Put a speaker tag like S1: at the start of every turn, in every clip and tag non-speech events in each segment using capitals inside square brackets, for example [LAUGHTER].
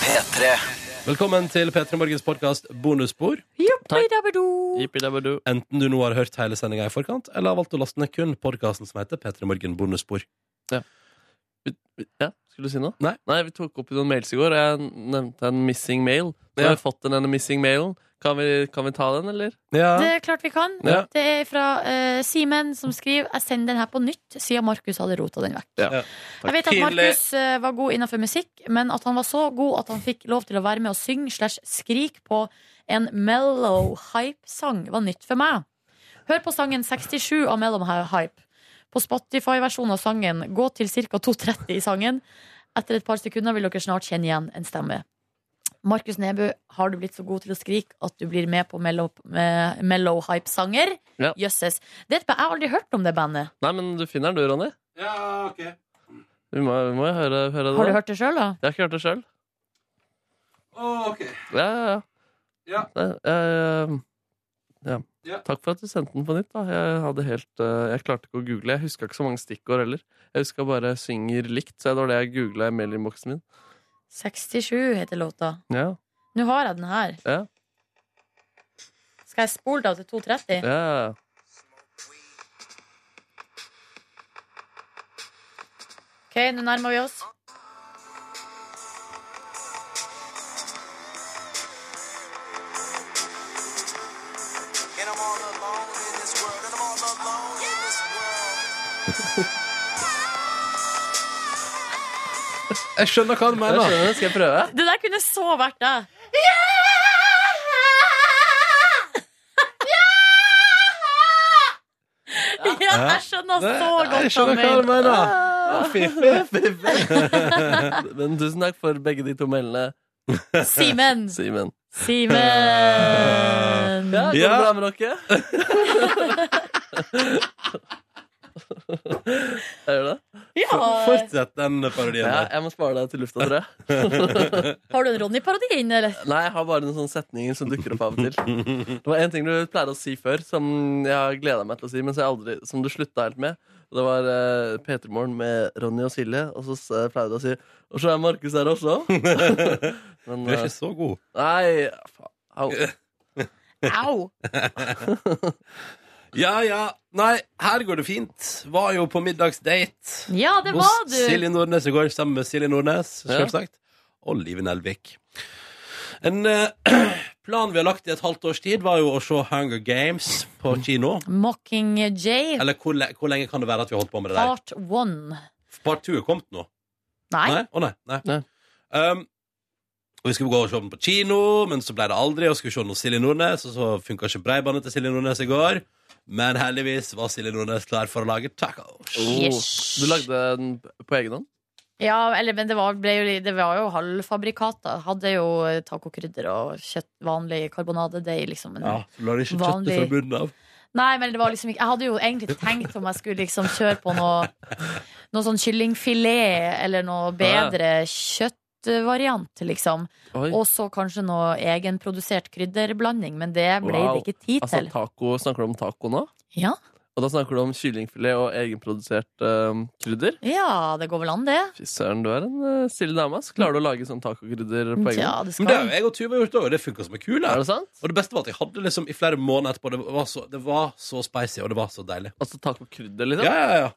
S1: P3.
S2: Velkommen til P3 Morgens podkast Bonusspor.
S3: Joppidabbado.
S4: Jippidabbadu.
S2: Enten du nå har hørt hele sendinga i forkant, eller har valgt å laste ned kun podkasten som heter P3 Morgen Bonusspor.
S4: Ja, skulle du si noe?
S2: Nei.
S4: Vi tok opp i noen mails i går, og jeg nevnte en missing mail. Nå
S2: Ja.
S4: har jeg fått den ene missing mailen. Kan vi, kan vi ta den, eller?
S2: Ja.
S3: Det er klart vi kan.
S2: Ja.
S3: Det er fra eh, Simen som skriver Jeg sender den her på nytt, siden Markus hadde rota den vekk.
S4: Ja.
S2: Ja.
S3: Jeg vet at Markus eh, var god innenfor musikk, men at han var så god at han fikk lov til å være med og synge slash skrik på en mellow hype-sang, var nytt for meg. Hør på sangen 67 av Mellow Hype. På Spotify-versjonen av sangen, gå til ca. 2.30 i sangen. Etter et par sekunder vil dere snart kjenne igjen en stemme. Markus Neby, har du blitt så god til å skrike at du blir med på Mellow, eh, mellow Hype-sanger?
S4: Ja.
S3: Jøsses. Det er et band- Jeg har aldri hørt om det bandet.
S4: Nei, men du finner den, du, Ronny.
S2: Ja, ok.
S4: Vi må, vi må jo høre, høre det.
S3: Har du
S4: da.
S3: hørt det sjøl, da?
S4: Jeg har ikke hørt det sjøl.
S2: Oh, ok.
S4: Ja, ja, ja.
S2: Ja.
S4: Nei, jeg, eh, ja.
S2: Ja.
S4: Takk for at du sendte den på nytt. da Jeg, hadde helt, eh, jeg klarte ikke å google. Jeg huska ikke så mange stikkord heller. Jeg huska bare 'synger likt', så det var det jeg googla i mailinnboksen min.
S3: 67 heter låta.
S4: Ja,
S3: Nå har jeg den her.
S4: ja,
S3: Skal jeg spole det av til 2.30?
S4: ja.
S3: Ok, nå nærmer vi oss.
S2: Jeg skjønner hva du
S4: Jeg
S2: mener.
S4: skjønner, skal jeg prøve?
S3: Det der kunne så vært deg. Ja, jeg skjønner så
S2: Jeg
S3: godt hva du
S2: skjønner hva du
S3: mener.
S2: mener. Å, fy, fy,
S4: [LAUGHS]
S2: fy, fy.
S4: Men tusen takk for begge de to meldene,
S3: Simen.
S4: Simen.
S3: Simen.
S4: Ja, går det
S2: Ja.
S4: bra med [LAUGHS] dere? Jeg gjør det.
S3: Ja.
S2: Fortsett den parodien
S4: Ja,
S2: der.
S4: jeg må spare deg til lufta, tror jeg.
S3: Har du en Ronny-parodi inne, eller?
S4: [LAUGHS] Nei, jeg har bare noen sånne setninger som dukker opp av og [LAUGHS] til. Det var en ting du pleide å si før, som jeg har gleda meg til å si, men som, jeg aldri, som du slutta helt med. Det var uh, P3 Morgen med Ronny og Silje, og så s- pleide du å si Og så er Markus her også. [LAUGHS] men
S2: Du er
S4: eh,
S2: ikke så god.
S4: Nei, faen. Au. [LAUGHS]
S3: Au!
S2: Ja, ja. Nei, her går det fint. Var jo på middagsdate.
S3: Ja, det var
S2: Hos
S3: du.
S2: Silje Nordnes i går, sammen med Silje Nordnes,
S4: Ja.
S2: selvsagt. Og Live Nelvik. En eh, [CLEARS THROAT] plan vi har lagt i et halvt års tid, var jo å se Hunger Games på kino.
S3: Mockingjay,
S2: Eller hvor, le hvor lenge kan det være at vi har holdt på med det der?
S3: part one.
S2: Part 2 er kommet nå.
S3: Nei?
S2: Nei? Å, nei. nei.
S4: Nei.
S2: Um, og vi skulle gå og se den på kino, men så ble det aldri. Og skulle se noe Silje Nordnes, og så funka ikke breibandet til Silje Nordnes i går. Men heldigvis var Silje Nordnes klar for å lage tacos.
S3: Yes.
S4: Du lagde den på egen hånd?
S3: Ja, eller, men det var, ble jo, det var jo halvfabrikata. Hadde jo tacokrydder og kjøtt, vanlig karbonadedeig, liksom. Men,
S2: Ja, så la det ikke kjøttet
S3: Vanlig.
S2: fra bunnen av.
S3: Nei, men det var liksom ikke Jeg hadde jo egentlig tenkt om jeg skulle liksom kjøre på noe Noe sånn kyllingfilet eller noe bedre kjøttvariant, liksom.
S4: Oi.
S3: Og så kanskje noe egenprodusert krydderblanding, men det ble
S4: Wow.
S3: det ikke tid
S4: Altså
S3: til.
S4: taco, Snakker du om taco nå?
S3: Ja,
S4: Og da snakker du om kyllingfilet og egenprodusert eh, krydder?
S3: ja det går vel an, det.
S4: Fy søren, du er en eh, stille dame. ass. Klarer du å lage sånn tacokrydder på egen hånd?
S3: Ja, det
S2: Men det har jo
S3: skal.
S2: jeg og Tuva gjort òg, og det funka som en kule.
S4: Er det sant?
S2: Og det beste var at jeg hadde liksom i flere måneder etterpå. Det var så, det var så spicy, og det var så deilig.
S4: Altså tacokrydder,
S2: Ja,
S4: liksom?
S2: ja, ja.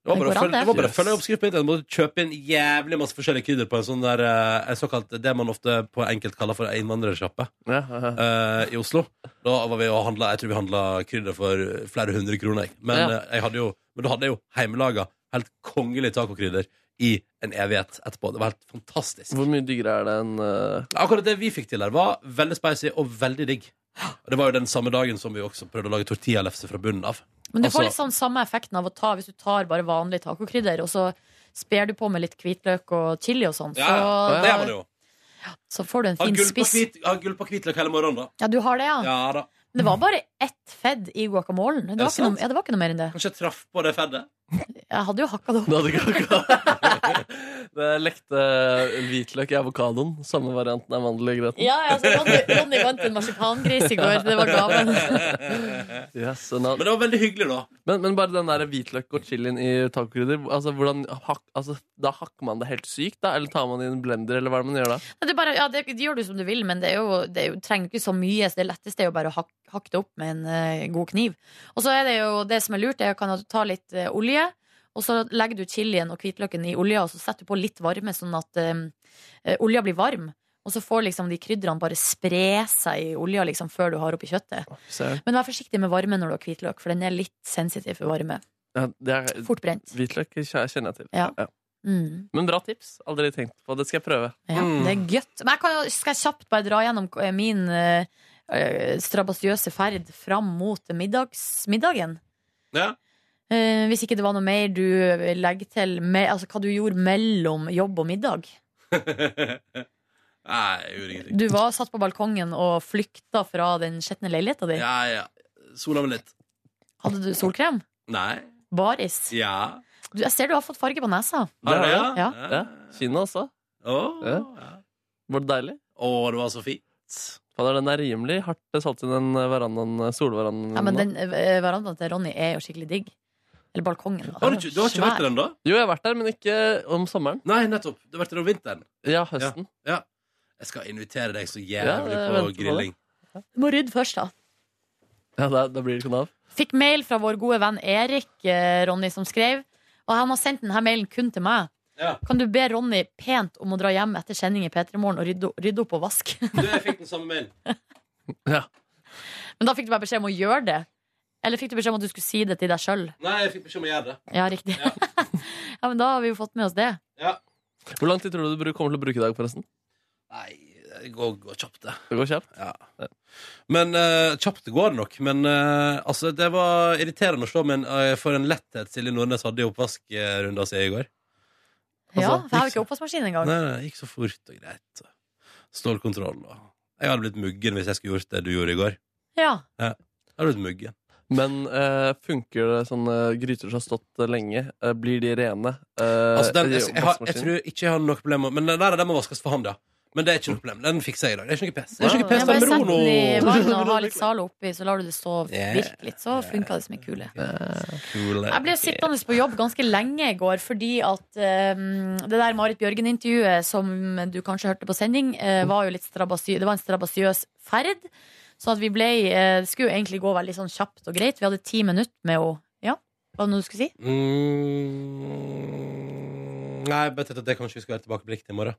S2: Det var
S3: Det
S2: bare, å
S3: går an,
S2: følge-
S3: det.
S2: det var bare å
S4: Yes.
S2: følge oppskrift på internett. Du måtte kjøpe inn jævlig masse forskjellige krydder på en sånn der eh, en såkalt det man ofte på enkelt kaller for innvandrersjappe
S4: Ja, ja, ja.
S2: eh, i Oslo. Da var vi og handla Jeg tror vi handla krydder for flere hundre kroner. jeg. Men,
S4: Ja.
S2: eh, jeg hadde jo, men da hadde jeg jo heimelaga helt kongelige tacokrydder i en evighet etterpå. Det var helt fantastisk.
S4: Hvor mye diggere er det enn eh, [LAUGHS]
S2: Akkurat det vi fikk til der, var veldig spicy og veldig digg. Og Det var jo den samme dagen som vi også prøvde å lage tortillalefse fra bunnen av.
S3: Men du
S2: Altså-
S3: får litt sånn samme effekten av å ta hvis du tar bare vanlig tacokrydder, og så sper du på med litt hvitløk og chili og sånn, så,
S2: det gjør man jo.
S3: så får du en
S2: Ha
S3: fin
S2: gull på
S3: spiss.
S2: hvit- ha gull på hvitløk hele morgenen, da.
S3: Ja, du har det, ja.
S4: Ah.
S2: Ja da.
S3: Men Det var bare ett fedd i guacamolen. Det,
S2: det
S3: var ikke noe-
S2: sant?
S3: ja, det var ikke noe mer enn det.
S2: Kanskje jeg traff på det feddet.
S3: Jeg hadde jo hakka det opp.
S4: Du hadde ikke avokado. [LAUGHS] Det lekte hvitløk i avokadoen. Samme varianten av mandel i grøten.
S3: Ja, ja, så Ronny, Ronny vant en marsipangris i går. Det var gaven.
S2: [LAUGHS]
S4: Yes, and all-
S2: Men det var veldig hyggelig, da.
S4: men, men bare den der hvitløk og chilien i tacokrydder, altså, hvordan hak, altså, da hakker man det helt sykt, da? Eller tar man det i en blender, eller hva er det man gjør da?
S3: Nei, Det, er bare, ja, det, det gjør du som du vil, men det, er jo, det er jo, trenger ikke så mye. Så det letteste er jo bare å hakke, hakke det opp med en eh, god kniv. Og så er det jo det som er lurt, er kan at du ta litt eh, olje, og så legger du chilien og hvitløken i olja, og så setter du på litt varme, sånn at eh, eh, olja blir varm. Og så får liksom de krydderne bare spre seg i olja liksom, før du har oppi kjøttet.
S4: Ser du?
S3: Men vær forsiktig med varme når du har hvitløk, for den er litt sensitiv for varme.
S4: Ja, det er,
S3: Fort brent.
S4: hvitløk kj- kjenner jeg til.
S3: Ja. Mm.
S4: Men bra tips. Aldri tenkt på. Det skal jeg prøve.
S3: Ja,
S2: Mm.
S3: det er gøtt. Men jeg kan, skal jeg kjapt bare dra gjennom eh, min eh, eh, strabasiøse ferd fram mot middags, middagen?
S2: Ja.
S3: Eh, hvis ikke det var noe mer du legger til me, Altså hva du gjorde mellom jobb og middag?
S2: [LAUGHS] Nei, jeg gjorde ingenting.
S3: Du var satt på balkongen og flykta fra den skjetne leiligheta di.
S2: Ja, ja. Sola meg litt.
S3: Hadde du solkrem?
S2: Nei.
S3: Baris?
S2: Ja.
S3: Du, jeg ser du har fått farge på nesa.
S2: Har
S4: Det
S2: jeg
S4: har
S2: det?
S3: jeg.
S4: Ja. Kina også.
S2: Å,
S4: Ja.
S2: ja.
S4: Var det deilig?
S2: Å, det var så fint.
S4: Fader, den er rimelig hardt satt i den verandaen, solverandaen.
S3: Ja, men
S4: nå.
S3: den eh, verandaen til Ronny er jo skikkelig digg. Eller balkongen. da.
S2: Har du, ikke- du har ikke
S3: Svær.
S2: vært der ennå?
S4: Jo, jeg har vært der, men ikke om sommeren.
S2: Nei, nettopp. Du har vært der om vinteren.
S4: Ja, høsten.
S2: Jeg skal invitere deg så
S4: Ja,
S2: jævlig
S4: jeg
S2: på
S4: venter på det.
S2: grilling.
S3: Du må rydde først, da.
S4: Ja, da, da blir det ikke noe av.
S3: Fikk mail fra vår gode venn Erik, eh, Ronny, som skrev. Og han har sendt denne mailen kun til meg.
S2: Ja.
S3: Kan du be Ronny pent om å dra hjem etter sending i P3 Morgen og rydde, rydde opp og vaske?
S2: Du, jeg fikk den samme mailen.
S4: Ja.
S3: [LAUGHS] Men da fikk du bare beskjed om å gjøre det. Eller fikk du beskjed om at du skulle si det til deg sjøl?
S2: Nei, jeg fikk beskjed om å gjøre det.
S3: Ja, riktig. [LAUGHS] Ja. men da har vi jo fått med oss det.
S4: Hvor lang tid tror du du bru- kommer til å bruke i dag, forresten?
S2: Nei, det går, går kjapt, det.
S4: Det går kjapt.
S2: Men eh, kjapt går det nok. Men eh, altså, det var irriterende å se, men eh, for en letthet Silje Nordnes hadde i oppvaskrunda si i går.
S3: Ja,
S2: Altså,
S3: for jeg har jo
S2: ikke så-
S3: ikke oppvaskmaskin engang.
S2: Nei, nei, det gikk så fort og greit. Stålkontroll og Jeg hadde blitt muggen hvis jeg skulle gjort det du gjorde i går.
S3: Ja.
S2: Jeg hadde blitt muggen.
S4: Men eh, funker det sånne gryter som har stått eh, lenge? Eh, blir de rene? Eh,
S2: Altså, den,
S4: i
S2: jeg, jeg, har- jeg
S4: oppvaskmaskinen?
S2: tror ikke jeg har noe problem med Men den, der, den må vaskes for hånd, ja. Men det er ikke noe problem. Den fikser jeg i dag. Det er ikke noe pes. Det er ikke
S4: Ja,
S2: noe
S3: Jeg
S2: pes,
S4: ja,
S3: bare
S2: den
S3: sett
S2: beror
S3: den i
S2: nå. [LAUGHS]
S3: vannet og har litt Zalo oppi, så lar du det stå
S2: Ja.
S3: virke litt. Så funka det som ei kule.
S2: Kule.
S3: Jeg ble sittende på jobb ganske lenge i går fordi at eh, det der Marit Bjørgen-intervjuet som du kanskje hørte på sending, eh, var jo litt strabasi det var en strabasiøs ferd. Så at vi ble, eh, det skulle jo egentlig gå veldig sånn kjapt og greit. Vi hadde ti minutter med henne. Ja, hva var det noe du skulle si?
S2: Mm, nei, jeg bare tenkte at det kanskje vi skal være tilbakeblikk til i morgen.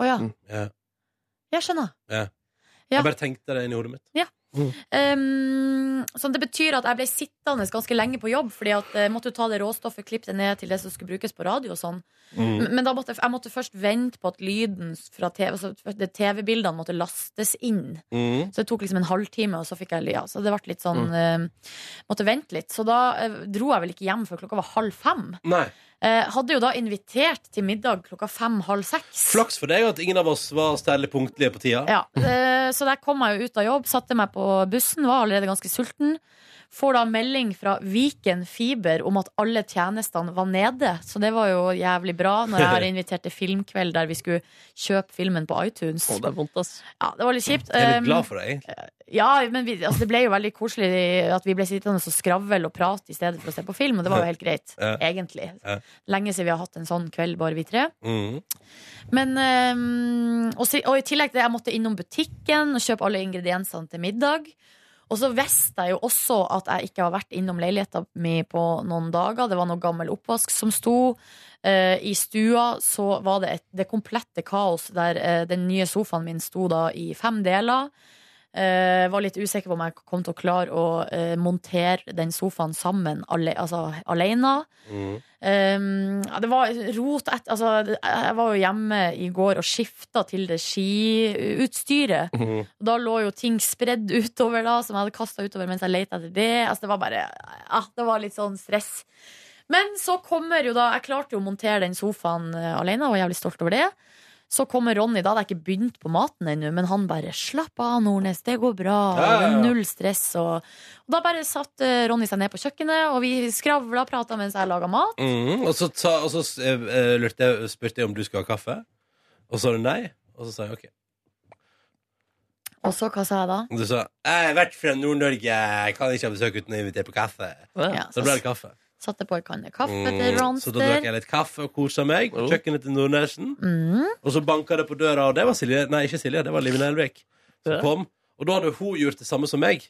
S3: Å ja,
S4: Mm.
S2: Ja.
S3: jeg skjønner. Ja.
S2: Jeg bare tenkte det inn i hodet mitt.
S3: Um, så det betyr at jeg ble sittende ganske lenge på jobb, fordi at jeg måtte jo ta det råstoffet, klippe det ned til det som skulle brukes på radio og sånn. Men men da måtte jeg, jeg måtte først vente på at lyden fra TV, altså det TV-bildene måtte lastes inn.
S2: Mm.
S3: Så det tok liksom en halvtime, og så fikk jeg ja, Så det ble litt sånn eh, Måtte vente litt. Så da eh, dro jeg vel ikke hjem før klokka var halv fem.
S2: Nei.
S3: Eh, hadde jo da invitert til middag klokka fem-halv seks.
S2: Flaks for deg at ingen av oss var særlig punktlige på tida.
S3: Ja, eh, så der kom jeg jo ut av jobb, satte meg på bussen, var allerede ganske sulten. Får da melding fra Viken Fiber om at alle tjenestene var nede. Så det var jo jævlig bra når jeg har invitert til filmkveld der vi skulle kjøpe filmen på iTunes.
S4: Å, det er vondt, ass.
S3: Ja, det var litt kjipt.
S2: Jeg er
S3: Um,
S2: litt glad for deg, egentlig.
S3: Ja, men vi, altså, det ble jo veldig koselig at vi ble sittende og skravle og prate i stedet for å se på film, og det
S2: [LAUGHS]
S3: var jo helt greit,
S2: Ja.
S3: egentlig.
S2: Ja.
S3: Lenge siden vi har hatt en sånn kveld, bare vi tre.
S2: Mm.
S3: Men, ehm, og, så, og i tillegg til det, jeg måtte innom butikken og kjøpe alle ingrediensene til middag. Og så visste jeg jo også at jeg ikke har vært innom leiligheta mi på noen dager. Det var noe gammel oppvask som sto. Eh, I stua så var det et, det komplette kaos der eh, den nye sofaen min sto da i fem deler. Eh, var litt usikker på om jeg kom til å klare å eh, montere den sofaen sammen ale, altså, alene.
S2: Mm.
S3: Um, ja, det var rot et, altså, det- Jeg var jo hjemme i går og skifta til det skiutstyret.
S2: Mhm.
S3: Da lå jo ting spredd utover, da som jeg hadde kasta utover mens jeg leita etter det. Altså, det var bare ja, Det var litt sånn stress. Men så kommer jo da Jeg klarte jo å montere den sofaen eh, alene og var jævlig stolt over det. Så kommer Ronny, da hadde jeg ikke begynt på maten ennå, men han bare 'slapp av, Nordnes, det går bra',
S2: Ja, ja, ja.
S3: null stress og Og da bare satt eh, Ronny seg ned på kjøkkenet, og vi skravla og prata mens jeg laga mat.
S2: Mhm, og så, sa, og så eh, lurte jeg, spurte jeg om du skulle ha kaffe. Og så sa du nei. Og så sa jeg OK.
S3: Og så, hva sa jeg da?
S2: Og du sa jeg har vært fra Nord-Norge, jeg kan ikke ha besøk uten å invitere på kaffe.
S3: Ja,
S2: Så
S3: så
S2: da ble det kaffe.
S3: satte jeg på en kanne kaffe
S2: Mm,
S3: til
S2: så da drakk
S3: Ronster.
S2: jeg litt kaffe og kosa meg på
S4: Oh.
S2: kjøkkenet til Nordnesen.
S3: Mm.
S2: Og så banka det på døra, og det var Silje Nei, ikke Silje, det var Live Nelvik. Som
S4: Ja.
S2: kom. Og da hadde hun gjort det samme som meg.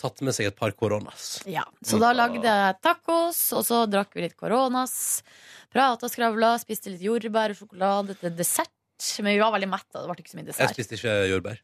S2: Tatt med seg et par koronas.
S3: Ja, så da lagde jeg tacos, og så drakk vi litt coronas. Prata, skravla, spiste litt jordbær og sjokolade til dessert. Men vi var veldig mette, og det ble ikke så
S2: Jeg
S3: mye dessert.
S2: spiste ikke jordbær.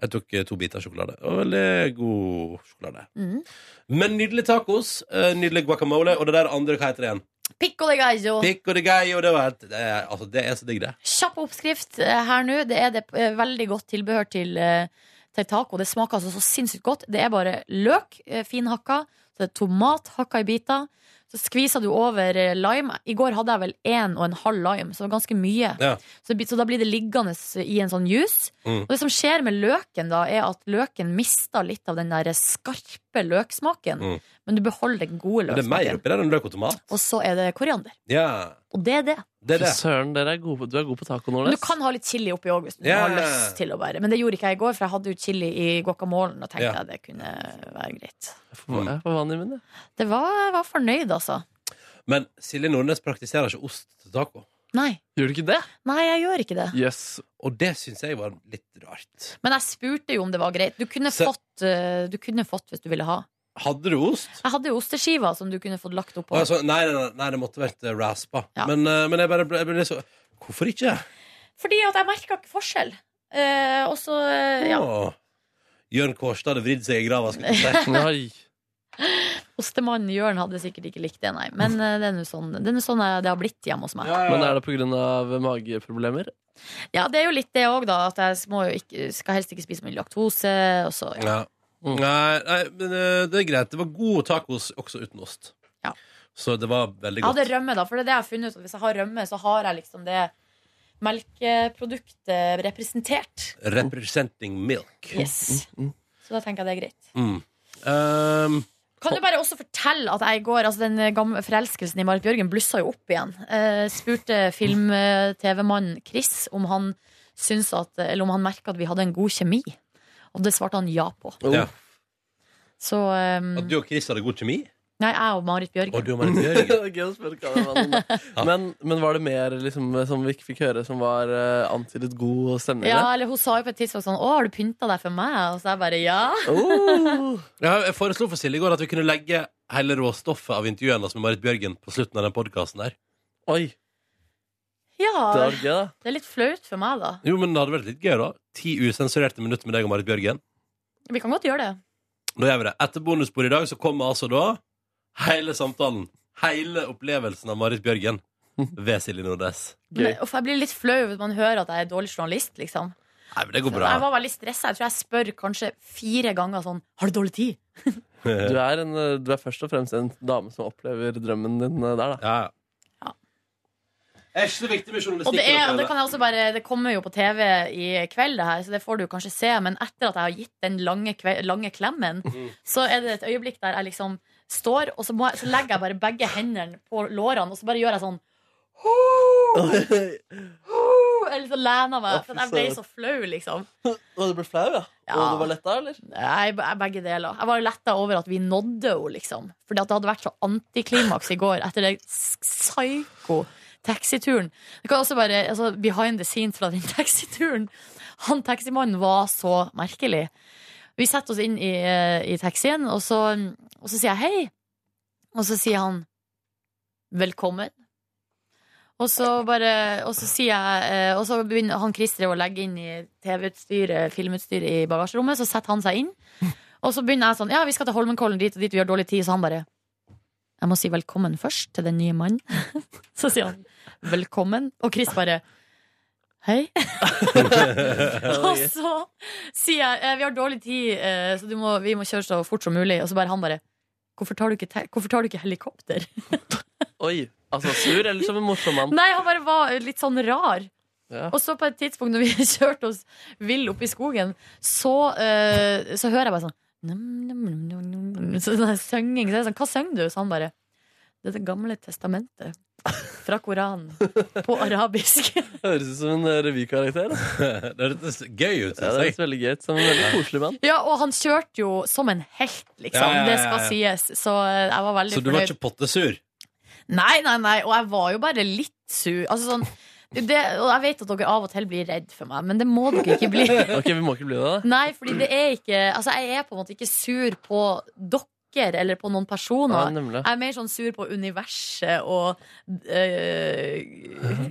S2: Jeg tok eh, to biter sjokolade. Og veldig god sjokolade.
S3: Mm.
S2: Men nydelig tacos, eh, nydelig guacamole, og det der andre, hva heter det igjen?
S3: Pico de gallo.
S2: Pico de gallo. Det, var, helt- det, er, altså, det er så digg, det.
S3: Kjapp oppskrift eh, her nå. Det er det eh, veldig godt tilbehør til, eh, til taco. Det smaker altså så sinnssykt godt. Det er bare løk, eh, finhakka, så det er tomat hakka i biter. Så skviser du over eh, lime. I går hadde jeg vel én og en halv lime, så det var ganske mye.
S2: Ja.
S3: Så, det blir- så da blir det liggende i en sånn juice.
S2: Mm.
S3: Og det som skjer med løken, da, er at løken mister litt av den der skarpe løksmaken.
S2: Mm.
S3: Men du beholder den gode
S2: Men det er mer
S3: løksmaken.
S2: oppi der enn løk og tomat.
S3: Og så er det koriander.
S2: Ja,
S3: Og det er det.
S2: det er
S4: Fy
S2: det.
S4: Søren, dere er gode på, du er god på taco,
S3: Men
S4: Nordnes.
S3: du kan ha litt chili oppi òg, hvis du
S2: Ja.
S3: har lyst til å bare Men det gjorde ikke jeg i går, for jeg hadde jo chili i guacamolen og tenkte
S2: Ja.
S3: jeg det kunne være greit.
S4: Jeg får- Jeg får vann i munnen. jeg.
S3: Det var, jeg var fornøyd, altså.
S2: Men Silje Nordnes praktiserer ikke ost til taco.
S3: Nei.
S4: Gjør du ikke det?
S3: Nei, jeg gjør ikke det.
S4: Jøss.
S2: Og det syns jeg var litt rart.
S3: Men jeg spurte jo om det var greit. Du kunne,
S2: Så-
S3: fått, eh, du kunne fått hvis du ville ha.
S2: Hadde du ost?
S3: Jeg hadde jo osteskiver som du kunne fått lagt oppå.
S2: Å, altså, nei, nei, nei, nei, det måtte vært eh, raspa.
S3: Ja.
S2: Men, eh, men jeg bare ble, jeg ble litt så Hvorfor ikke?
S3: Fordi at jeg merka ikke forskjell. Eh, og så eh, ja.
S2: Å. Jørn Kårstad hadde vridd seg i grava. skulle jeg si.
S4: Nei.
S3: Ostemannen Jørn hadde sikkert ikke likt det, nei. Men eh, det er nå sånn, det, er nå sånn eh, det har blitt hjemme hos meg. [LAUGHS] Ja.
S4: Men er det pga. mageproblemer?
S3: det er jo litt det òg, da. At jeg må jo ikke, skal helst ikke spise mye laktose. Og så, ja.
S2: Ja.
S4: Mm.
S2: Nei, nei, men eh, det er greit. Det var god tacos også uten ost.
S3: Ja.
S2: Så det var veldig
S3: Jeg hadde
S2: godt.
S3: rømme, da. For det er det jeg har funnet ut. At hvis jeg har rømme, så har jeg liksom det melkeproduktet representert.
S2: Representing milk.
S3: Yes. Så da tenker jeg det er greit.
S2: Mm. Um,
S3: Kan du bare også fortelle at jeg i går Altså Den gamle forelskelsen i Marit Bjørgen blussa jo opp igjen. Eh, spurte film-TV-mannen Chris om han syns at Eller om han merka at vi hadde en god kjemi. Og det svarte han ja på.
S4: Oh. [LAUGHS]
S2: ja.
S3: Så eh,
S2: At du og Chris hadde god kjemi?
S3: Nei, jeg og Marit
S2: Og
S3: Bjørgen.
S2: du og Marit
S4: Det
S2: Bjørgen?
S4: er Gøy å spørre hva det var noen, da.
S3: [LAUGHS]
S4: men, men var det mer liksom, som vi ikke fikk høre, som var eh, antydet god stemning?
S3: Ja, eller Hun sa jo på et tidspunkt sånn 'Å, har du pynta deg for meg?' Og så jeg bare 'ja'.
S4: der? Oh.
S2: [LAUGHS] Ja, jeg foreslo for Silje i går at vi kunne legge hele råstoffet av intervjuene hennes med Marit Bjørgen på slutten av den podkasten der.
S4: Oi, det
S3: Ja,
S4: var gøy, da.
S3: det er litt flaut for meg, da.
S2: Jo, men det hadde vært litt gøy, da. Ti usensurerte minutter med deg og Marit Bjørgen.
S3: Vi kan godt gjøre det.
S2: Nå gjør vi det. Etter bonusbordet i dag så kommer altså da hele samtalen. Hele opplevelsen av Marit Bjørgen ved Silje Nordnes.
S4: Gøy.
S3: Men, uff, jeg blir litt flau hvis man hører at jeg er dårlig journalist, liksom.
S2: Nei, men det går bra.
S3: Jeg var veldig stressa. Jeg tror jeg spør kanskje fire ganger sånn 'Har du dårlig tid?'
S4: Du er, en, eh, du er først og fremst en dame som opplever drømmen din eh, der, da.
S2: [LAUGHS] Ja.
S3: Ja.
S2: Det er ikke så viktig med
S3: Og det, er,
S2: journalistikken.
S3: og det, kan jeg også bare, det kommer jo på TV i kveld, det her, så det får du kanskje se. Men etter at jeg har gitt den lange, kve- lange klemmen,
S4: Mhm.
S3: så er det et øyeblikk der jeg liksom står, og så, må jeg, så legger jeg bare begge hendene på lårene, og så bare gjør jeg sånn
S4: [LAUGHS]
S3: Eller så lener jeg meg.
S4: Å, fy
S3: For jeg ble
S4: søren.
S3: så flau, liksom.
S4: Og du ble flau, ja?
S3: Ja.
S4: Og du var letta, eller?
S3: Nei, be- begge deler. Jeg var jo letta over at vi nådde henne, liksom. Fordi at det hadde vært så antiklimaks i går etter den psyko taxituren. Det kan også bare, altså, Behind the scenes fra den [LAUGHS] taxituren. Han taximannen var så merkelig. Vi setter oss inn i, eh, i taxien, og så, og så sier jeg hei. Og så sier han velkommen. Og så bare Og så sier jeg eh, Og så begynner han Christer å legge inn i TV-utstyret, filmutstyret i bagasjerommet. Så setter han seg inn. Og så begynner jeg sånn Ja, vi skal til Holmenkollen dit og dit, vi har dårlig tid. Så han bare Jeg må si velkommen først til den nye mannen. [LAUGHS] Så sier han velkommen. Og Chris bare Hei. Og så sier jeg eh, vi har dårlig tid, eh, så du må, vi må kjøre så fort som mulig. Og så bare han bare Hvorfor tar du ikke, te- hvorfor tar du ikke helikopter?
S4: Oi. Altså sur, eller som en morsom mann?
S3: Nei, han bare var litt sånn rar.
S4: Ja.
S3: Og så på et tidspunkt når vi [LAUGHS] kjørte oss vill oppe i skogen, så, eh, så hører jeg bare sånn num, num, num, num, num, num, Sånn der synging. Så jeg er sånn, Hva synger du? Så han bare Det er Det gamle testamentet. Fra Koranen. På arabisk. [LAUGHS]
S4: Høres ut som en eh, revykarakter. da.
S2: [LAUGHS] Det hørtes gøy ut, synes
S4: Ja, det
S2: jeg.
S4: høres veldig gøy ut. Som en veldig koselig mann.
S3: Ja, og han kjørte jo som en helt, liksom.
S2: Ja, ja, ja,
S3: Det
S2: ja.
S3: skal sies. Så eh, jeg var veldig
S2: Så du var ikke pottesur?
S3: Nei, nei, nei, og jeg var jo bare litt sur. Altså sånn det, og jeg vet at dere av og til blir redd for meg, men det må dere ikke bli.
S2: [LAUGHS]
S4: Ok, Vi må ikke bli det, da.
S3: Nei, fordi det er ikke Altså, jeg er på en måte ikke sur på dere eller på noen
S4: Ja,
S3: personer.
S4: nemlig.
S3: Jeg er mer sånn sur på universet og øh,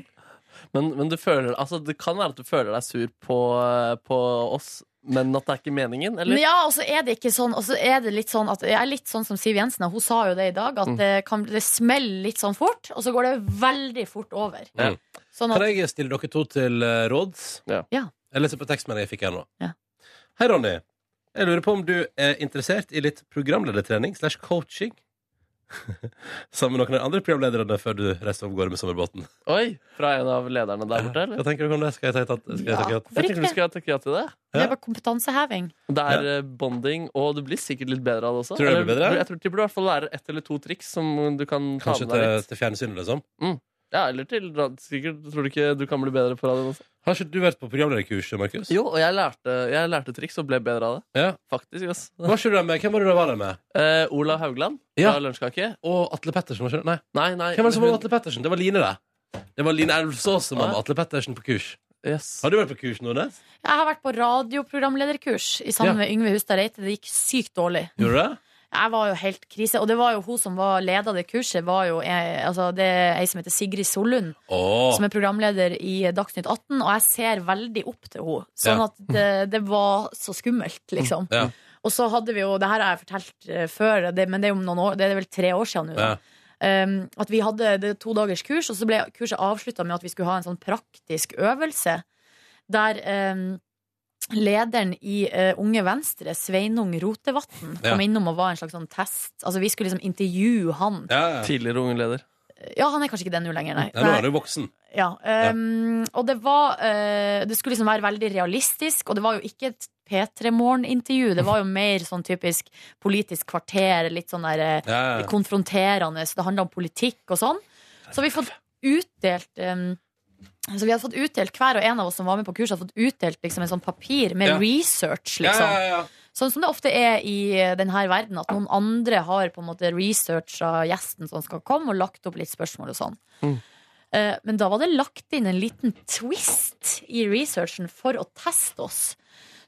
S4: Men, men du føler, altså, det kan være at du føler deg sur på, eh, på oss, men at det er ikke meningen?
S3: Men
S4: Eller?
S3: ja, og så er det ikke sånn, og så er det litt sånn at Jeg er litt sånn som Siv Jensen, og hun sa jo det i dag, at
S4: Mm.
S3: det, kan, det smeller litt sånn fort, og så går det veldig fort over.
S4: Ja.
S3: Sånn
S2: Kan
S3: at
S2: jeg stille dere to til eh, råds?
S4: Ja.
S3: Ja.
S2: Jeg leser på tekstmeldingen jeg fikk her nå.
S3: Ja.
S2: Hei, Ronny. Jeg lurer på om du er interessert i litt programledertrening slash coaching? [LAUGHS] Sammen med noen av de andre programlederne før du reiser av gårde med sommerbåten.
S4: Oi! Fra en av lederne der borte,
S2: Hva
S4: eller?
S2: tenker du om det? Skal jeg ta et
S3: Ja.
S2: ja.
S3: Hvorfor
S4: Jeg tenker du
S3: ikke?
S4: skal takke ja til det.
S3: det er bare kompetanseheving.
S4: Det er eh, bonding, og du blir sikkert litt bedre av det også.
S2: Tror du det blir
S4: Eller,
S2: bedre?
S4: Jeg tror du burde i hvert fall lære ett eller to triks som du kan ta
S2: Kanskje
S4: med deg
S2: til,
S4: litt.
S2: til fjernsynet, liksom?
S4: Ja, eller til rad- sikkert, Tror du ikke du kan bli bedre på radioen også?
S2: Har ikke du vært på programlederkurs, Markus?
S4: Jo, og jeg lærte, jeg lærte triks og ble bedre av det.
S2: Ja.
S4: Faktisk, ass.
S2: Var ikke du der med? Hvem var det du var der med?
S4: Eh, Olav Haugland
S2: Ja.
S4: fra Lunsjkake.
S2: Og Atle Pettersen? Var ikke det? Nei.
S4: Nei, nei
S2: Hvem var det som var med
S4: hun-
S2: Atle Pettersen? Det var Line, det. Det var Line Elvsås som var med
S4: Ja.
S2: Atle Pettersen på kurs.
S4: Yes.
S2: Har du vært på kurs, Nordnes?
S3: Jeg har vært på radioprogramlederkurs i sammen
S2: Ja.
S3: med Yngve Hustad Reite. Det gikk sykt dårlig.
S2: Gjorde du det?
S3: Jeg var jo helt krise. Og det var jo hun som var leder av det kurset, var jo eh, altså, det er ei som heter Sigrid Sollund,
S2: Åh.
S3: som er programleder i Dagsnytt 18, og jeg ser veldig opp til henne. Sånn
S2: Ja.
S3: at det, det var så skummelt, liksom.
S2: Ja.
S3: Og så hadde vi jo, det her har jeg fortalt eh, før, det, men det er jo om noen år, det er vel tre år siden nå. da.
S2: Ja.
S3: Um, at vi hadde det to dagers kurs, og så ble kurset avslutta med at vi skulle ha en sånn praktisk øvelse der um, lederen i eh, Unge Venstre, Sveinung Rotevatn,
S2: Ja.
S3: kom innom og var en slags sånn test. Altså vi skulle liksom intervjue han.
S2: Ja, ja.
S4: Tidligere ung leder.
S3: Ja, han er kanskje ikke det nå lenger, nei.
S2: Nei, nå er du voksen.
S3: Ja, ehm, Og det var eh, Det skulle liksom være veldig realistisk, og det var jo ikke et P3 Morgen-intervju. Det var jo mer sånn typisk Politisk kvarter, litt sånn der eh,
S2: Ja, ja.
S3: konfronterende. Så det handla om politikk og sånn. Så vi har fått utdelt em, så vi hadde fått utdelt, Hver og en av oss som var med på kurset, hadde fått utdelt liksom, en sånn papir med
S2: Ja.
S3: research.
S2: Ja,
S3: liksom.
S2: ja, ja.
S3: Sånn som det ofte er i eh, denne verden, at noen andre har på en måte researcha gjesten som skal komme, og lagt opp litt spørsmål og sånn.
S4: Mm.
S3: Eh, Men da var det lagt inn en liten twist i researchen for å teste oss.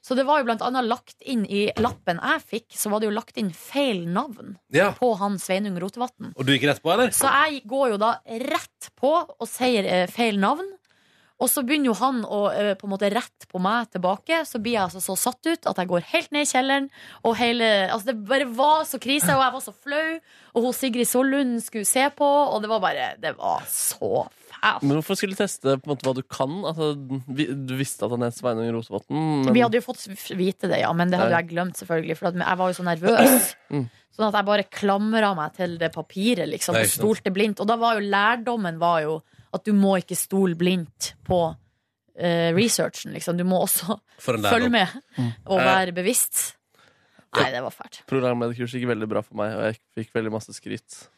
S3: Så det var jo blant annet lagt inn i lappen jeg fikk, så var det jo lagt inn feil navn
S2: ja.
S3: på han Sveinung Rotevatn.
S2: Og du gikk rett på, eller?
S3: Så jeg går jo da rett på og sier eh, feil navn. Og så begynner jo han å eh, på en måte rette på meg tilbake. Så blir jeg altså så satt ut at jeg går helt ned i kjelleren. Og hele, altså det bare var så krise, og jeg var så flau. Og hun Sigrid Sollund skulle se på, og det var bare Det var så fælt.
S4: Men hvorfor skulle du teste på en måte hva du kan? Altså, vi, du visste at han het Sveinung Rotevatn. men-
S3: Vi hadde jo fått f- vite det, ja, men det hadde jo jeg glemt, selvfølgelig. For at jeg var jo så nervøs.
S4: Mm.
S3: Sånn at jeg bare klamra meg til det papiret liksom,
S2: Nei,
S3: og
S2: ikke sant.
S3: stolte blindt. Og da var jo lærdommen var jo at du må ikke stole blindt på eh, researchen. Liksom. Du må også
S2: For en
S3: følge
S2: lærdom.
S3: med
S4: Mm.
S3: og være bevisst. Nei, det var fælt.
S4: Programlederkurs gikk veldig bra for meg, og jeg fikk veldig masse skryt.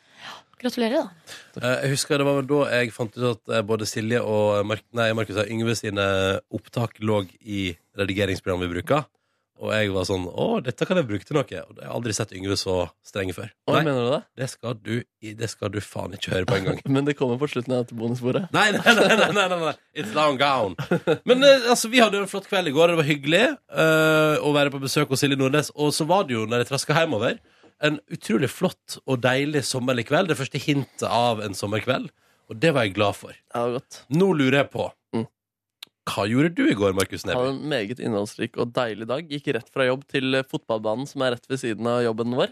S3: Gratulerer, da.
S2: Eh, Jeg husker det var vel da jeg fant ut at eh, både Silje og Mark, nei, Markus og Yngve sine opptak lå i redigeringsprogrammet vi bruker. Og jeg var sånn Å, dette kan jeg bruke til noe. Og jeg har aldri sett Yngve så streng før.
S4: Hva
S2: Nei,
S4: mener du det?
S2: det skal du, i- det skal du faen ikke høre på engang.
S4: Men det kommer på slutten av dette bonusbordet.
S2: Nei, nei, nei, nei, nei, nei, nei. It's long gone. Men eh, altså, vi hadde jo en flott kveld i går, og det var hyggelig eh, å være på besøk hos Silje Nordnes. Og så var det jo, når jeg traska hjemover, en utrolig flott og deilig sommerlig kveld. Det første hintet av en sommerkveld. Og det var jeg glad for.
S4: Ja, godt.
S2: Nå lurer jeg på
S4: Mm.
S2: Hva gjorde du i går, Markus
S4: Hadde
S2: Neby?
S4: en meget innholdsrik og deilig dag. Gikk rett fra jobb til eh, fotballbanen, som er rett ved siden av jobben vår.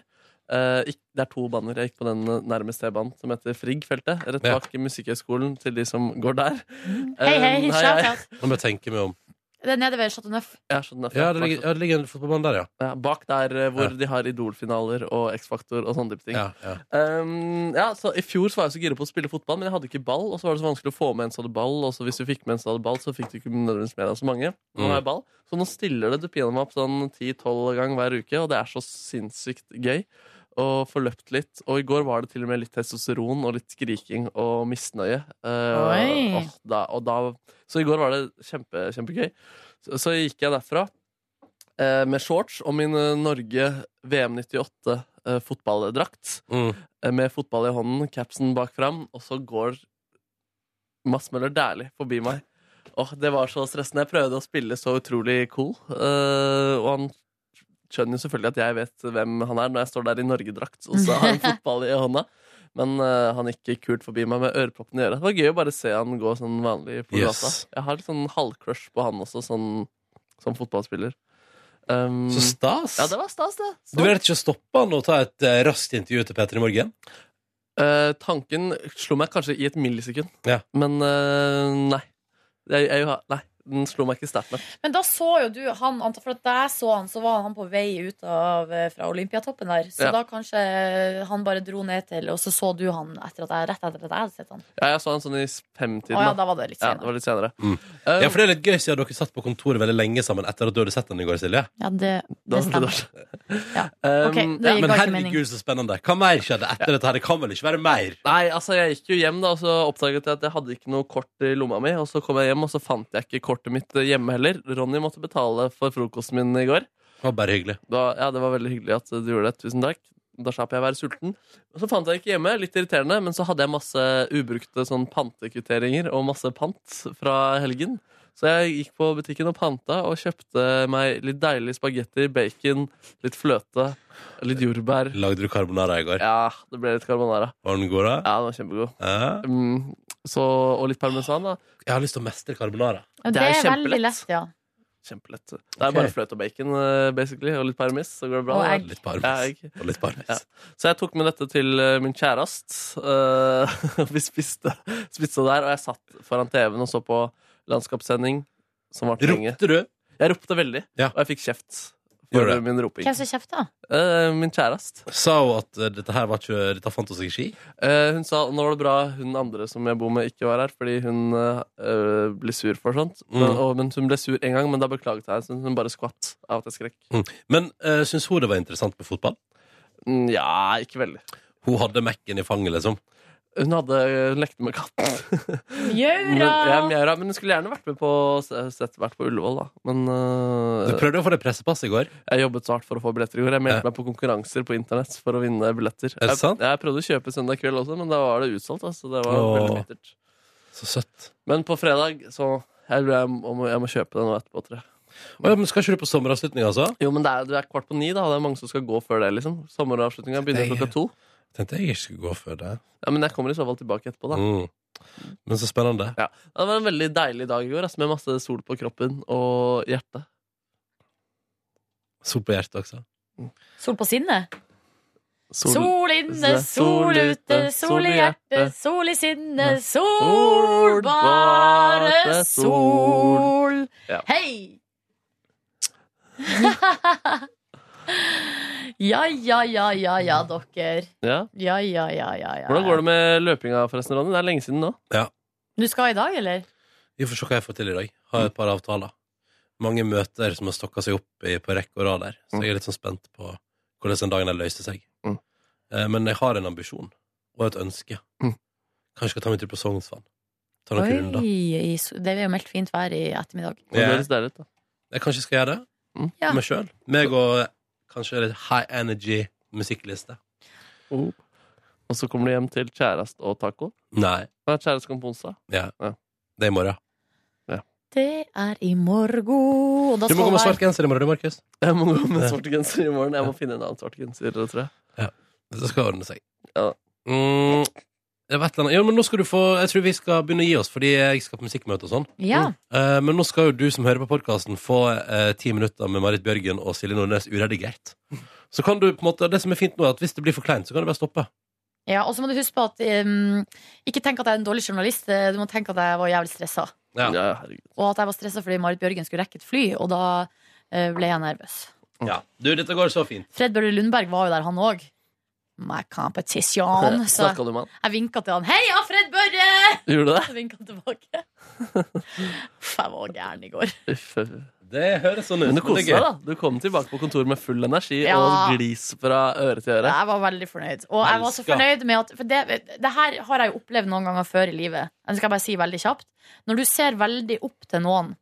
S4: Eh, ikk- det er to baner. Jeg gikk på den eh, nærmeste T-banen, som heter Frigg-feltet. Rett
S2: Ja.
S4: bak Musikkhøgskolen, til de som går der.
S3: Hei,
S4: Eh,
S3: [LAUGHS] hei.
S4: hei,
S3: shout
S4: hei.
S3: out.
S2: Nå må jeg tenke meg om.
S3: Det er nede ved Chateau Neuf.
S4: Jeg skjønner
S2: Ja, det ligger, ja, det ligger en fotballmann der, ja.
S4: Ja, bak der eh,
S2: Ja.
S4: hvor de har Idol-finaler og X-Faktor og sånne type ting.
S2: ja, ja.
S4: Um, ja, så I fjor så var jeg så gira på å spille fotball, men jeg hadde ikke ball. Og så var det så vanskelig å få med en som hadde ball. Og så hvis du fikk med en som hadde ball, så fikk du ikke nødvendigvis med deg så mange. Nå har jeg ball Så nå stiller det du piner meg opp sånn 10-12 gang hver uke, og det er så sinnssykt gøy. Og får løpt litt. Og i går var det til og med litt testosteron og litt skriking og misnøye. Eh,
S3: Oi.
S4: og da, og da, så i går var det kjempe, kjempegøy. Så, så gikk jeg derfra eh, med shorts og min eh, Norge VM98 eh, fotballdrakt
S2: Mm.
S4: eh, med fotball i hånden, capsen bak fram, og så går Mads Møller Dæhlie forbi meg. Åh, Det var så stressende. Jeg prøvde å spille så utrolig cool, eh, og han skjønner jo selvfølgelig at jeg vet hvem han er når jeg står der i norgedrakt og så har han fotball i hånda. Men eh, han gikk kult forbi meg med øreproppene i øret. Det var gøy å bare se han gå sånn vanlig på
S2: Yes.
S4: gata. Jeg har litt sånn halvcrush på han også, sånn, som fotballspiller. Um,
S2: Så stas.
S4: ja, det var stas, det. Så
S2: Du vurderte ikke å stoppe han og ta et eh, raskt intervju til Petter i morgen?
S4: Eh, tanken slo meg kanskje i et millisekund,
S2: Ja.
S4: men eh, nei. Jeg, jeg, har- nei. Den slo meg ikke sterkt nok.
S3: Men da så jo du han, Anton, for at da jeg så han, så var han på vei ut av, eh, fra Olympiatoppen der. Så
S4: Ja.
S3: da kanskje han bare dro ned til, og så så du han etter at jeg, rett etter at jeg hadde sett han. Å
S4: Ja, jeg så den sånn i femtiden.
S3: ja,
S4: da.
S3: da var det litt
S4: Ja, det
S3: senere.
S4: var litt senere.
S2: Mm.
S4: Eh,
S2: Ja, for det er litt gøy siden dere satt på kontoret veldig lenge sammen etter at du hadde sett den i går, Silje.
S3: Ja, det,
S4: da
S3: det stemmer.
S4: var det
S3: Ja.
S4: Um,
S3: Ok, det
S4: ja.
S3: gikk
S2: Men
S3: ikke mening.
S2: herregud, så spennende. Hva mer skjedde etter dette? her? Det kan vel ikke være mer?
S4: Nei, altså jeg gikk jo hjem da Og så oppdaget jeg at jeg hadde ikke noe kort i lomma mi Og så kom jeg hjem, og så fant jeg ikke kortet mitt eh, hjemme heller Ronny måtte betale for frokosten min i går
S2: Det var bare hyggelig.
S4: da, ja, Det var veldig hyggelig at du gjorde det. Tusen takk. Da slapp jeg å være sulten. Og så fant jeg ikke hjemme, litt irriterende, men så hadde jeg masse ubrukte sånn pantekvitteringer og masse pant fra helgen. Så jeg gikk på butikken og panta og kjøpte meg litt deilig spagetti, bacon, litt fløte, litt jordbær.
S2: Lagde du carbonara i går?
S4: Ja, det ble litt carbonara.
S2: Var den god, da?
S4: Ja, den var kjempegod.
S2: Ja.
S4: Mm, så, og litt parmesan, da.
S2: Jeg har lyst til å mestre carbonara.
S3: Ja,
S4: det
S3: det
S4: er
S3: er
S4: kjempelett.
S3: veldig lett, ja.
S4: Kjempelett. Det er bare fløte og bacon, eh, basically, og litt parmes, så går det bra.
S3: Og egg.
S2: Litt
S4: Ja,
S2: parvis.
S4: egg.
S2: Og litt parvis.
S4: Ja. Så jeg tok med dette til eh, min kjærest. eh, [LAUGHS] vi spiste, spiste der, og jeg satt foran TV-en og så på landskapssending. Som varte lenge.
S2: Ropte du?
S4: Jeg ropte veldig,
S2: Ja.
S4: og jeg fikk kjeft for
S2: Gjorde det?
S4: min roping.
S3: Hvem som kjefta?
S4: Eh, min kjærest.
S2: Sa hun at eh, dette her var ikke Dette fant hun seg ikke i?
S4: Eh, hun sa nå var det bra hun andre som jeg bor med, ikke var her, fordi hun eh, eh, ble sur for sånt.
S2: Mm.
S4: Men, og, men Hun ble sur en gang, men da beklaget jeg. Så hun bare skvatt av at jeg skrek.
S2: Men uh, syns hun det var interessant med fotball?
S4: Mm, ja, ikke veldig.
S2: Hun hadde Mac-en i fanget, liksom.
S4: Hun hadde hun lekte med katten. Men, ja,
S3: Mjaura!
S4: Mjøra, men hun skulle gjerne vært med på, sett, vært på Ullevål, da. Men
S2: Du
S4: øh,
S2: prøvde å få det pressepasset i går.
S4: jeg jobbet så hardt for å få billetter i går. Jeg
S2: Ja.
S4: meldte meg på konkurranser på internett for å vinne billetter.
S2: Er det sant?
S4: Jeg, jeg prøvde å kjøpe søndag kveld også, men da var det utsolgt. Altså. Det var
S2: Åh.
S4: veldig bittert.
S2: Så søtt.
S4: Men på fredag så jeg, tror jeg, må, jeg må kjøpe det nå etterpå, tror jeg.
S2: Å, ja, men skal ikke du på sommeravslutning, altså?
S4: Jo, men det er, det er kvart på ni, da. og Det er mange som skal gå før det, liksom. Sommeravslutninga
S2: Det
S4: begynner
S2: er-
S4: klokka to.
S2: Tenkte jeg ikke skulle gå før det.
S4: Ja, Men jeg kommer i så fall tilbake etterpå, da.
S2: Mm. Men så spennende.
S4: Det var en veldig deilig dag i går, altså, med masse sol på kroppen og hjertet.
S2: Sol på hjertet også.
S3: Sol på sinnet?
S4: Sol-
S3: Sol inne, sol ute, sol i hjertet, sol i sinnet, sol, bare sol.
S4: Ja.
S3: Hei! [LAUGHS] Ja, ja, ja, ja, ja, dere.
S4: Ja.
S3: Ja, ja, ja, ja, ja.
S4: Hvordan går det med løpinga, forresten, Ronny? Det er lenge siden nå.
S3: Du skal i dag, eller?
S2: Vi får se hva jeg får til i dag. Har et par avtaler. Mange møter som har stokka seg opp i, på rekke og rad der. Så jeg er litt sånn spent på hvordan den dagen der løste seg.
S4: Mm.
S2: Eh, men jeg har en ambisjon og et ønske.
S4: Mm.
S2: Kanskje jeg skal ta meg tur på Sognsvann. Ta noen runder.
S3: Oi, i so- det er jo meldt fint vær i ettermiddag.
S4: Og Det
S2: Ja.
S4: høres deilig ut, da.
S2: Jeg kanskje skal gjøre det.
S4: Mm.
S3: Ja.
S2: Meg sjøl. Meg og kanskje litt high energy musikkliste.
S4: Og så kommer du hjem til kjæreste og taco.
S2: Nei.
S4: Nei, kjæreste kom på onsdag.
S2: Det er i morgen.
S3: Det er i morgen. Og da
S2: Du må
S3: skal
S2: gå med
S3: være-
S2: svart genser i morgen, du, Markus.
S4: Jeg må gå med svart genser i morgen. Jeg må finne en annen svart genser, tror jeg.
S2: Det skal ordne seg.
S4: Ja.
S2: Mm, det var et eller annet. Jo, men nå skal du få Jeg tror vi skal begynne å gi oss, fordi jeg skal på musikkmøte og sånn.
S3: Ja.
S2: Eh, men nå skal jo du som hører på podkasten, få eh, ti minutter med Marit Bjørgen og Silje Nordnes uredigert. Så kan du på en måte Det som er fint nå, er at hvis det blir for kleint, så kan du bare stoppe.
S3: ja. Og så må du huske på at um, Ikke tenk at jeg er en dårlig journalist. eh, Du må tenke at jeg var jævlig stressa.
S2: Ja.
S4: Ja, herregud.
S3: Og at jeg var stressa fordi Marit Bjørgen skulle rekke et fly, og da eh, ble jeg nervøs.
S2: Ja. Du, dette går så fint.
S3: Fred Børre Lundberg var jo der, han òg. My competition. Så
S4: Snakka du med han?
S3: jeg vinka til han. Heia, Fred Børre!
S4: Gjorde du det?
S3: Så vinka han tilbake. [LAUGHS] Uff, jeg var gæren i går.
S4: Uff, uff.
S2: Det høres sånn ut.
S4: Men
S2: men det
S4: du koste
S2: er gøy.
S4: deg, da. Du kom tilbake på kontor med full energi
S3: Ja.
S4: og glis fra øre til øre.
S3: Jeg var veldig fornøyd. Og jeg var så
S2: Elsker.
S3: fornøyd med at For det, det her har jeg jo opplevd noen ganger før i livet. Det skal jeg bare si veldig kjapt. Når du ser veldig opp til noen,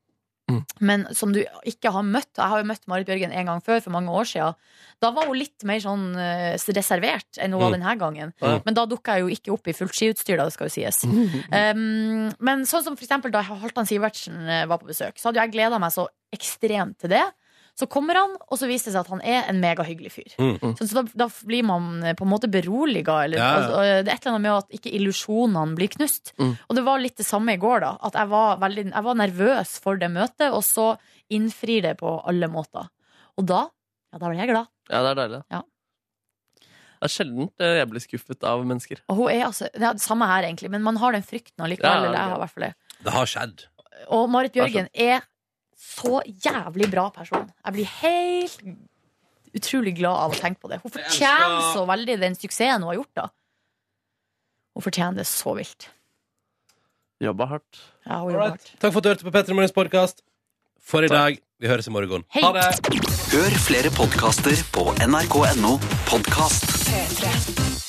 S4: Mm.
S3: men som du ikke har møtt og Jeg har jo møtt Marit Bjørgen en gang før, for mange år siden. Da var hun litt mer sånn eh, reservert enn hun var
S2: Mm.
S3: denne gangen.
S2: Ja.
S3: Men da dukka jeg jo ikke opp i fullt skiutstyr, da, det skal jo sies. Um, men sånn som for eksempel da Halvdan Sivertsen eh, var på besøk, så hadde jo jeg gleda meg så ekstremt til det. Så kommer han, og så viser det seg at han er en megahyggelig fyr.
S2: Mm.
S3: Så, så da, da blir man eh, på en måte beroliga. Eller,
S2: Ja, ja.
S3: altså, eh, det er et eller annet med at ikke illusjonene blir knust.
S4: Mm.
S3: Og det var litt det samme i går, da. At jeg var, veldig, jeg var nervøs for det møtet, og så innfrir det på alle måter. Og da, ja, da ble jeg glad.
S4: Ja, det er deilig.
S3: Ja.
S4: Det er sjelden eh, jeg blir skuffet av mennesker.
S3: Og hun er altså, det er det samme her, egentlig, men man har den frykten
S4: Ja,
S3: allikevel.
S4: ja,
S3: eller jeg
S4: ja.
S3: har i hvert fall det.
S2: Det har skjedd.
S3: Og Marit Bjørgen er så jævlig bra person. Jeg blir helt utrolig glad av å tenke på det. Hun
S2: Jeg
S3: fortjener
S2: elsker-
S3: så veldig den suksessen hun har gjort, da. Hun fortjener det så vilt.
S4: Jobba hardt.
S3: Ja, hun jobber
S2: Alright.
S3: hardt.
S2: Takk for at du hørte på Petter Morgens podkast. For i dag. Vi høres i morgen.
S3: Hei.
S2: Ha det!
S1: Hør flere podkaster på nrk.no podkast.